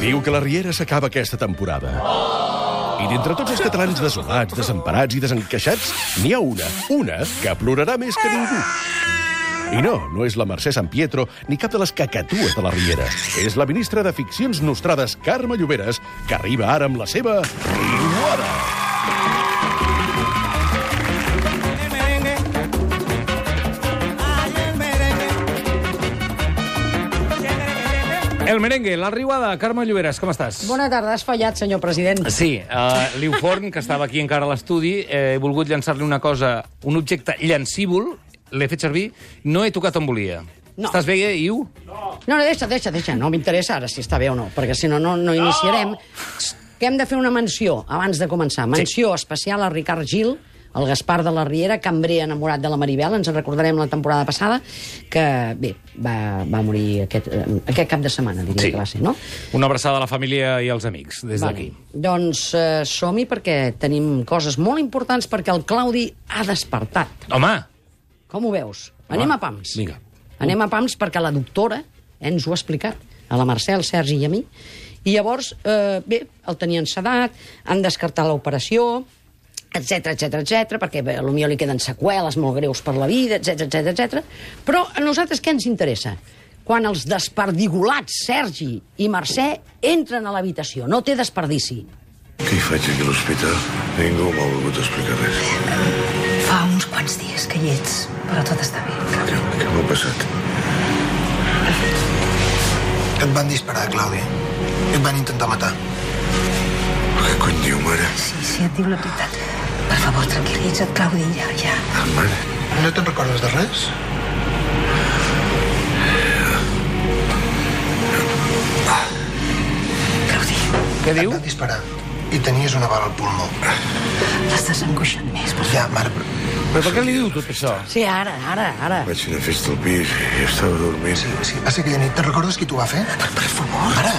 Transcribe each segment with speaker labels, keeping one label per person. Speaker 1: Diu que la Riera s'acaba aquesta temporada. I d'entre tots els catalans desolats, desemparats i desencaixats, n'hi ha una, una, que plorarà més que ningú. I no, no és la Mercè San Pietro ni cap de les cacatues de la Riera. És la ministra de Ficcions Nostrades, Carme Lloberes, que arriba ara amb la seva... Riuada!
Speaker 2: el merengue. Ay, el merengue.
Speaker 3: El merengue, la riuada. Carme Lloberes, com estàs?
Speaker 4: Bona tarda, has fallat, senyor president.
Speaker 3: Sí, uh, Liu Forn, que estava aquí encara a l'estudi, eh, he volgut llançar-li una cosa, un objecte llancívol, l'he fet servir, no he tocat on volia.
Speaker 4: No.
Speaker 3: Estàs bé, Iu?
Speaker 4: No, no, deixa, deixa, deixa. No m'interessa ara si està bé o no, perquè si no, no, no iniciarem. Que hem de fer una menció abans de començar. Menció especial a Ricard Gil, el Gaspar de la Riera, cambrer enamorat de la Maribel, ens en recordarem la temporada passada, que, bé, va, va morir aquest, eh, aquest cap de setmana, diria
Speaker 3: Sí.
Speaker 4: que va ser, no?
Speaker 3: Una abraçada a la família i als amics, des d'aquí.
Speaker 4: Doncs eh, som-hi perquè tenim coses molt importants perquè el Claudi ha despertat.
Speaker 3: Home,
Speaker 4: Com ho veus?
Speaker 3: Home,
Speaker 4: Anem a pams.
Speaker 3: vinga.
Speaker 4: Anem a pams perquè la doctora eh, ens ho ha explicat, a la Mercè, al Sergi i a mi. I llavors, eh, bé, el tenien sedat, han descartat l'operació, etc etc etc perquè bé, potser li queden seqüeles molt greus per la vida, etc etc etc. Però a nosaltres què ens interessa? Quan els desperdigolats Sergi i Mercè entren a l'habitació, no té desperdici.
Speaker 5: Què hi faig aquí a l'hospital? Ningú m'ha volgut explicar res.
Speaker 6: Fa uns quants dies que hi ets, però tot està bé,
Speaker 5: Què,
Speaker 6: cabrón.
Speaker 5: què m'ha passat?
Speaker 7: Et van disparar, Claudi. Et van intentar matar.
Speaker 5: Què cony diu, mare?
Speaker 6: Sí, sí, et diu la veritat. Per favor, tranquil·litza't, Claudi, ja, ja.
Speaker 5: Ah, mare?
Speaker 7: No te'n recordes de res?
Speaker 6: Claudi,
Speaker 3: què
Speaker 7: Et
Speaker 3: diu?
Speaker 7: van disparar. I tenies una bala al pulmó.
Speaker 6: l'has desangoixat més, per
Speaker 7: Ja, mare, però...
Speaker 3: Però per què li diu tot això?
Speaker 4: Sí, ara, ara, ara.
Speaker 5: Vaig anar a festa al pis i estava dormint.
Speaker 7: Sí, sí, va ser aquella nit. Te'n recordes qui t'ho va fer?
Speaker 6: Per, per favor.
Speaker 7: Ara.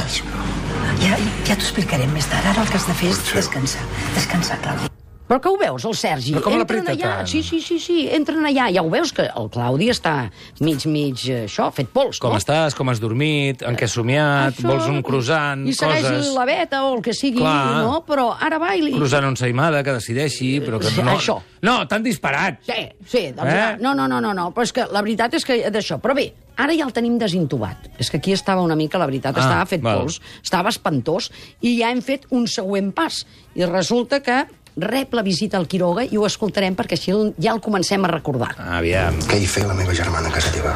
Speaker 6: Ja, ja t'ho explicarem més tard. Ara el que has de fer és
Speaker 5: Potser.
Speaker 6: descansar. Descansar, Claudi.
Speaker 4: Però que ho veus, el Sergi?
Speaker 3: Però com
Speaker 4: Entren
Speaker 3: l'apreta
Speaker 4: allà.
Speaker 3: tant?
Speaker 4: Sí, sí, sí, sí, entren allà. Ja ho veus que el Claudi està mig, mig, eh, això, fet pols,
Speaker 3: Com
Speaker 4: no?
Speaker 3: estàs? Com has dormit? En què has somiat?
Speaker 4: Això,
Speaker 3: Vols un croissant?
Speaker 4: I segueix
Speaker 3: coses...
Speaker 4: la beta o el que sigui,
Speaker 3: Clar.
Speaker 4: no? Però ara va i li...
Speaker 3: Croissant on s'aimada, que decideixi, però que
Speaker 4: Sí,
Speaker 3: no...
Speaker 4: això.
Speaker 3: No, t'han disparat!
Speaker 4: Sí, sí, doncs
Speaker 3: Eh?
Speaker 4: eh? no, no, no, no, no, però és que la veritat és que d'això... Però bé, ara ja el tenim desintubat. És que aquí estava una mica, la veritat,
Speaker 3: Ah,
Speaker 4: ah, estava fet
Speaker 3: val.
Speaker 4: val. pols, estava espantós, i ja hem fet un següent pas. I resulta que rep la visita al Quiroga i ho escoltarem perquè així el- ja el comencem a recordar.
Speaker 3: Aviam.
Speaker 7: Què hi feia la meva germana a casa teva?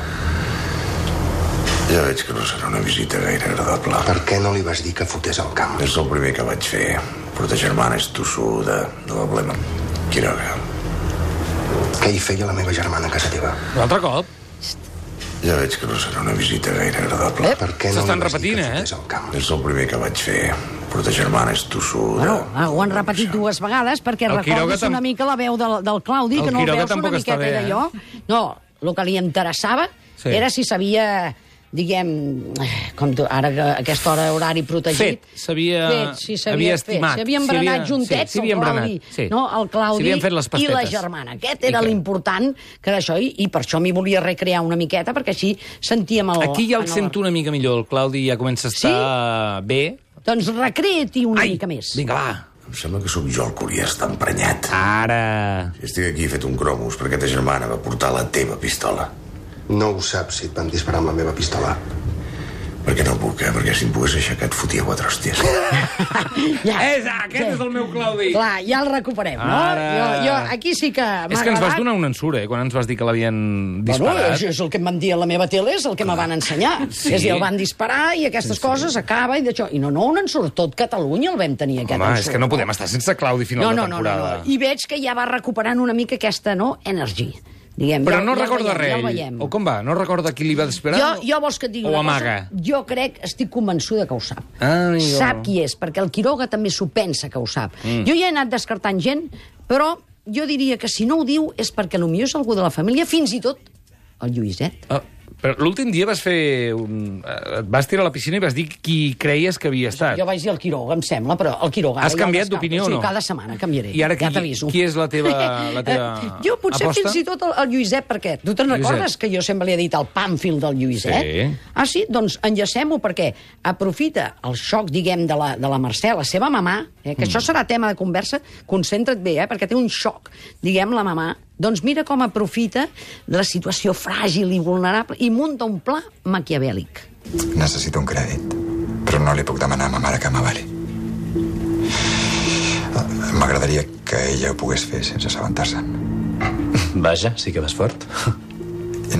Speaker 5: Ja veig que no serà una visita gaire agradable.
Speaker 7: Per què no li vas dir que fotés al camp?
Speaker 5: És el primer que vaig fer. Però ta germana és tossuda. No la volem. Quiroga.
Speaker 7: Què hi feia la meva germana a casa teva?
Speaker 3: Un altre cop?
Speaker 5: Ja veig que no serà una visita gaire agradable.
Speaker 7: Per què no
Speaker 3: S'estan
Speaker 7: li vas dir
Speaker 3: repetint,
Speaker 7: que
Speaker 3: eh?
Speaker 7: fotés al camp?
Speaker 5: És el primer que vaig fer. Però ta germana és tossuda.
Speaker 4: Bueno, ah, ho han repetit dues vegades perquè
Speaker 3: El Quiroga
Speaker 4: recordes
Speaker 3: tam-
Speaker 4: una mica la veu del, del Claudi,
Speaker 3: El
Speaker 4: que no el
Speaker 3: Quiroga
Speaker 4: veus una
Speaker 3: tampoc està
Speaker 4: miqueta
Speaker 3: bé, eh?
Speaker 4: d'allò. No, el que li interessava
Speaker 3: Sí.
Speaker 4: sí. era si sabia diguem, eh, com tu, ara que aquesta hora horari protegit...
Speaker 3: Fet, s'havia-
Speaker 4: Fet, sí, s'havia
Speaker 3: havia
Speaker 4: fet.
Speaker 3: estimat,
Speaker 4: S'havia
Speaker 3: s'havia-
Speaker 4: embranat
Speaker 3: sí,
Speaker 4: juntets,
Speaker 3: s'havia
Speaker 4: el
Speaker 3: embranat,
Speaker 4: Claudi,
Speaker 3: sí.
Speaker 4: no, el Claudi
Speaker 3: S'havien fet les
Speaker 4: i la
Speaker 3: pastetes.
Speaker 4: germana. Aquest
Speaker 3: I
Speaker 4: era
Speaker 3: què?
Speaker 4: l'important, que era això, i, i per això m'hi volia recrear una miqueta, perquè així sentíem el...
Speaker 3: Aquí ja el
Speaker 4: en
Speaker 3: sento una mica millor. El Claudi ja comença a estar bé.
Speaker 4: Doncs recrea-t'hi una mica més.
Speaker 3: Vinga, va.
Speaker 5: Em sembla que sóc jo el que hauria d'estar emprenyat. Ah.
Speaker 3: Ara.
Speaker 5: Estic aquí fet un cromos perquè ta germana va portar la teva pistola.
Speaker 7: No ho saps si et van disparar amb la meva pistola.
Speaker 5: Perquè no puc, eh? Perquè si em pogués aixecar et fotia quatre hòsties.
Speaker 4: Ja.
Speaker 3: És, aquest és el meu Claudi.
Speaker 4: Clar, ja el recuperem, no?
Speaker 3: Ara.
Speaker 4: Jo, jo, aquí sí que m'ha
Speaker 3: És que ens vas
Speaker 4: agradat.
Speaker 3: donar una ensura, eh, quan ens vas dir que l'havien
Speaker 4: Bueno,
Speaker 3: disparat.
Speaker 4: és, és el que em van dir a la meva tele, és el que me van ensenyar.
Speaker 3: Sí.
Speaker 4: Sí. És a dir, el van disparar i aquestes sí, coses acaba i d'això. I no, no, un ensurt. Tot Catalunya el vam tenir, aquest
Speaker 3: Home,
Speaker 4: ensurt.
Speaker 3: és que no podem estar sense Claudi final
Speaker 4: doncs no,
Speaker 3: de
Speaker 4: no, no, no,
Speaker 3: temporada.
Speaker 4: no. I veig que ja va recuperant una mica aquesta, no?, energy. Diguem,
Speaker 3: Però
Speaker 4: ja,
Speaker 3: no
Speaker 4: ja el
Speaker 3: recorda
Speaker 4: veiem,
Speaker 3: res.
Speaker 4: Ja el veiem.
Speaker 3: o com va? No recorda qui li va disparar?
Speaker 4: Jo, jo vols que et digui
Speaker 3: o
Speaker 4: una
Speaker 3: amaga.
Speaker 4: cosa? Jo crec, estic convençuda que ho sap.
Speaker 3: Ah, amigo.
Speaker 4: Sap qui és, perquè el Quiroga també s'ho pensa que ho sap. Mm. Jo ja he anat descartant gent, però jo diria que si no ho diu és perquè potser és algú de la família, fins i tot el Lluïset.
Speaker 3: Ah, Però l'últim dia vas fer un... eh, Et vas tirar a la piscina i vas dir qui creies que havia estat.
Speaker 4: Jo vaig dir el Quiroga, em sembla, però el Quiroga... ara
Speaker 3: Ah. Has
Speaker 4: ja el
Speaker 3: canviat
Speaker 4: descarto.
Speaker 3: d'opinió o
Speaker 4: sí,
Speaker 3: no?
Speaker 4: cada setmana canviaré.
Speaker 3: I ara
Speaker 4: ja
Speaker 3: qui-
Speaker 4: t'aviso.
Speaker 3: qui és la teva- la teva
Speaker 4: Eh, jo potser
Speaker 3: aposta?
Speaker 4: fins i tot el, el Lluïsep, perquè tu te'n
Speaker 3: Lluïsep.
Speaker 4: recordes que jo sempre li he dit el pàmfil del Lluïsep?
Speaker 3: Sí.
Speaker 4: Ah, sí? Doncs enllacem-ho, perquè aprofita el xoc, diguem, de la, de la Mercè, la seva mamà,
Speaker 3: Mm.
Speaker 4: eh, que això serà tema de conversa, concentra't bé, eh, perquè té un xoc, diguem, la mamà, doncs mira com aprofita la situació fràgil i vulnerable i munta un pla maquiavèlic.
Speaker 7: Necessito un crèdit, però no li puc demanar a ma mare que m'avali. M'agradaria que ella ho pogués fer sense assabentar-se'n.
Speaker 8: Vaja, sí que vas fort.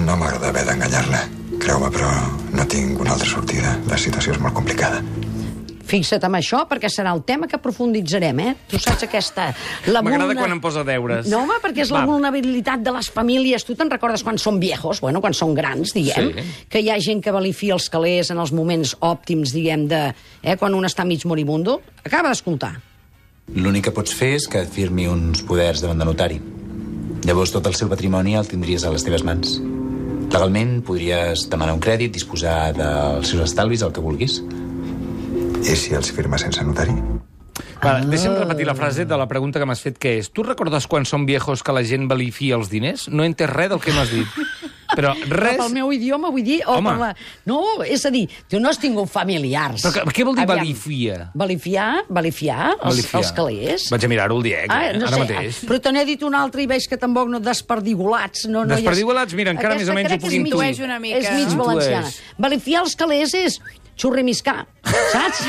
Speaker 7: No m'agrada haver d'enganyar-la, creu-me, però no tinc una altra sortida. La situació és molt complicada.
Speaker 4: Fixa't en això, perquè serà el tema que profunditzarem, eh? Tu saps aquesta... la
Speaker 3: M'agrada quan em posa deures.
Speaker 4: No, home, perquè és la
Speaker 3: Va.
Speaker 4: vulnerabilitat de les famílies. Tu te'n recordes quan són viejos, bueno, quan són grans, diguem,
Speaker 3: Sí.
Speaker 4: sí. que hi ha gent que valifia els calés en els moments òptims, diguem, de... Eh, quan un està mig moribundo. Acaba d'escoltar.
Speaker 8: L'únic que pots fer és que et firmi uns poders davant de notari. Llavors tot el seu patrimoni el tindries a les teves mans. Legalment podries demanar un crèdit, disposar dels seus estalvis, el que vulguis.
Speaker 7: I si els firma sense notari?
Speaker 3: Va, deixa'm repetir la frase de la pregunta que m'has fet, que és... Tu recordes quan són viejos que la gent valifia els diners? No he entès res del que m'has dit. Però
Speaker 4: Res...
Speaker 3: res...
Speaker 4: Pel meu idioma, vull dir... O
Speaker 3: Home.
Speaker 4: per la... No, és a dir, tu no has tingut familiars.
Speaker 3: Però què- què vol dir
Speaker 4: Aviam.
Speaker 3: valifia?
Speaker 4: Valifiar, valifiar,
Speaker 3: Valifia.
Speaker 4: els, els calés.
Speaker 3: Vaig a mirar-ho el diec,
Speaker 4: Ah, no
Speaker 3: ara
Speaker 4: sé,
Speaker 3: mateix.
Speaker 4: ah, però te n'he dit un altre i veig que tampoc no desperdigolats. No, no hi és-
Speaker 3: Desperdigolats, mira, encara
Speaker 9: Aquesta
Speaker 3: més o menys
Speaker 9: crec
Speaker 3: ho
Speaker 9: que
Speaker 3: puc
Speaker 9: és mig-
Speaker 3: intuir.
Speaker 9: és una mica.
Speaker 4: És mig
Speaker 3: Intueix.
Speaker 4: valenciana. Valifiar els calés és xurrimiscar, saps?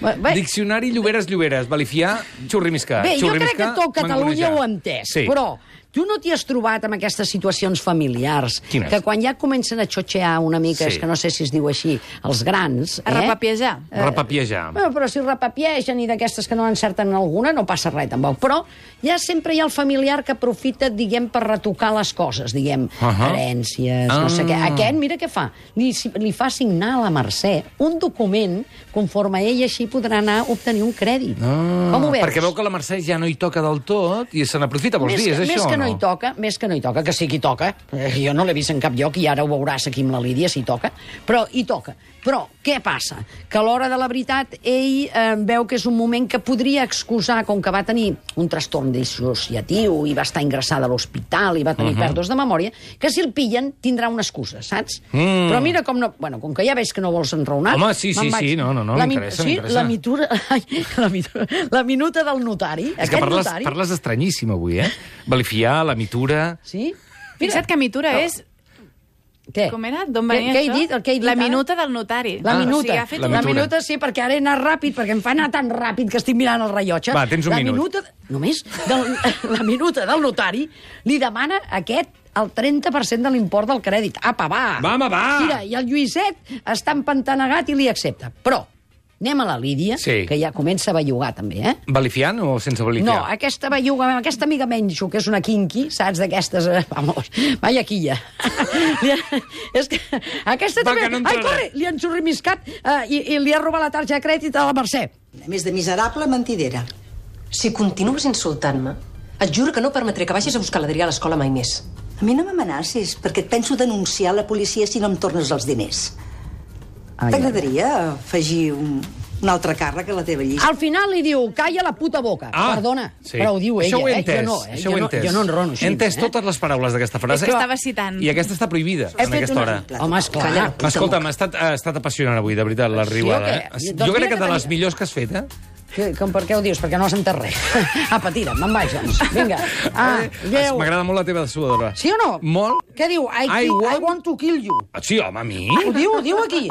Speaker 4: Bé, bé,
Speaker 3: Diccionari Lloberes Lloberes, valifiar, xurrimiscar.
Speaker 4: bé, jo crec
Speaker 3: Xurrimiscar,
Speaker 4: que tot Catalunya
Speaker 3: mangonejar.
Speaker 4: ho ha entès,
Speaker 3: sí.
Speaker 4: però tu no t'hi has trobat amb aquestes situacions familiars
Speaker 3: Quines?
Speaker 4: que quan ja comencen a xotxear una mica,
Speaker 3: Sí.
Speaker 4: és que no sé si es diu així, els grans... eh?
Speaker 9: A eh? repapiejar.
Speaker 3: Repapiejar.
Speaker 4: Bueno, però si repapiegen i d'aquestes que no encerten alguna, no passa res tampoc. Però ja sempre hi ha el familiar que aprofita, diguem, per retocar les coses, diguem, uh
Speaker 3: Ahà.
Speaker 4: -huh. herències, ah.
Speaker 3: Ah.
Speaker 4: no sé què. Aquest, mira què fa. Li, si- li fa signar a la Mercè un document conforme ell així podrà anar a obtenir un crèdit.
Speaker 3: Ah,
Speaker 4: Com ho veus?
Speaker 3: Perquè veu que la Mercè ja no hi toca del tot i se n'aprofita, vols
Speaker 4: Més,
Speaker 3: dir, és
Speaker 4: que,
Speaker 3: això
Speaker 4: més que
Speaker 3: o
Speaker 4: no? hi toca, més que no hi toca, que sí que hi toca. Eh, Jo no l'he vist en cap lloc i ara ho veuràs aquí amb la Lídia, si hi toca. Però hi toca. Però què passa? Que a l'hora de la veritat ell eh, veu que és un moment que podria excusar, com que va tenir un trastorn dissociatiu i va estar ingressada a l'hospital i va
Speaker 3: Mhm.
Speaker 4: tenir uh -huh. pèrdues de memòria, que si el pillen tindrà una excusa, saps?
Speaker 3: Mm.
Speaker 4: Però mira com no... Bueno, com que ja veig que no vols enraonar...
Speaker 3: Home, sí, sí,
Speaker 4: me'n
Speaker 3: sí, no, no, no,
Speaker 4: La mi-
Speaker 3: m'interessa,
Speaker 4: sí,
Speaker 3: m'interessa.
Speaker 4: la, mitura, ai, la, mitura, la minuta del notari,
Speaker 3: És
Speaker 4: aquest
Speaker 3: que parles,
Speaker 4: notari...
Speaker 3: parles estranyíssim avui, eh? Valifiar, la mitura...
Speaker 4: Sí?
Speaker 9: Fixa't que mitura no. és...
Speaker 4: Què?
Speaker 9: Com era? D'on
Speaker 4: Què-
Speaker 9: venia
Speaker 4: què he
Speaker 9: això?
Speaker 4: dit? El que he dit
Speaker 9: la
Speaker 4: ara?
Speaker 9: minuta del notari.
Speaker 4: La
Speaker 9: Ah. O
Speaker 4: minuta.
Speaker 9: sigui, ha fet
Speaker 3: La
Speaker 4: la,
Speaker 9: un-
Speaker 3: mitura.
Speaker 4: minuta sí, perquè ara he anat ràpid, perquè em fa anar tan ràpid que estic mirant el rellotge.
Speaker 3: Va, tens un
Speaker 4: la
Speaker 3: minut.
Speaker 4: Minuta, només? Del, la minuta del notari li demana a aquest el 30% de l'import del crèdit. Apa, va!
Speaker 3: Va, home, va!
Speaker 4: Ah, Mira, i el Lluïset està empantanegat i li accepta. Però anem a la Lídia,
Speaker 3: Sí.
Speaker 4: que ja comença a bellugar també, eh?
Speaker 3: Valifiant o sense
Speaker 4: No,
Speaker 3: valifiar?
Speaker 4: aquesta belluga, aquesta amiga menxo, que és una quinqui, saps, d'aquestes... eh, Vamos, vaya quilla. Li ha- és que aquesta
Speaker 3: Va,
Speaker 4: també...
Speaker 3: que no
Speaker 4: Ai,
Speaker 3: entrarà.
Speaker 4: corre! Li han sorrimiscat eh, i, i li ha robat la targeta de crèdit a la Mercè.
Speaker 10: A més de miserable, mentidera.
Speaker 6: Si continues insultant-me, et juro que no permetré que baixis a buscar l'Adrià a l'escola mai més.
Speaker 10: A mi no m'amenacis, perquè et penso denunciar a la policia si no em tornes els diners. T'agradaria afegir un, un altre càrrec a la teva llista?
Speaker 4: Al final li diu, calla la puta boca.
Speaker 3: Ah,
Speaker 4: Perdona,
Speaker 3: sí.
Speaker 4: però ho diu
Speaker 3: això
Speaker 4: ella,
Speaker 3: ho he
Speaker 4: eh?
Speaker 3: entès,
Speaker 4: Jo no, eh?
Speaker 3: Això
Speaker 4: jo,
Speaker 3: ho he
Speaker 4: no
Speaker 3: entès.
Speaker 4: jo no enrono
Speaker 3: He
Speaker 4: així.
Speaker 3: entès
Speaker 4: eh?
Speaker 3: totes les paraules d'aquesta frase.
Speaker 9: És que estava citant.
Speaker 3: I aquesta està prohibida,
Speaker 4: He
Speaker 3: en
Speaker 4: fet
Speaker 3: aquesta
Speaker 4: una-
Speaker 3: hora.
Speaker 4: Home, esclar.
Speaker 10: Calla la puta
Speaker 3: Escolta, m'ha estat, ha estat apassionant avui, de veritat, la
Speaker 4: Sí,
Speaker 3: riuada.
Speaker 4: o
Speaker 3: eh?
Speaker 4: què?
Speaker 3: Ha sigut-
Speaker 4: Doncs
Speaker 3: Jo crec
Speaker 4: mira
Speaker 3: que
Speaker 4: que
Speaker 3: de les
Speaker 4: tenia-
Speaker 3: millors que has fet, eh?
Speaker 4: Que, com, per què ho dius? Perquè no has entès res. Apa, tira, me'n vaig, doncs. Vinga. Ah,
Speaker 3: Eh, Es-
Speaker 4: adéu.
Speaker 3: M'agrada molt la teva suadora.
Speaker 4: Sí o no?
Speaker 3: Molt.
Speaker 4: Què diu? I,
Speaker 3: I
Speaker 4: I,
Speaker 3: want-
Speaker 4: I want to kill you.
Speaker 3: Ah, Sí, home, a mi?
Speaker 4: Ho diu, ho diu aquí.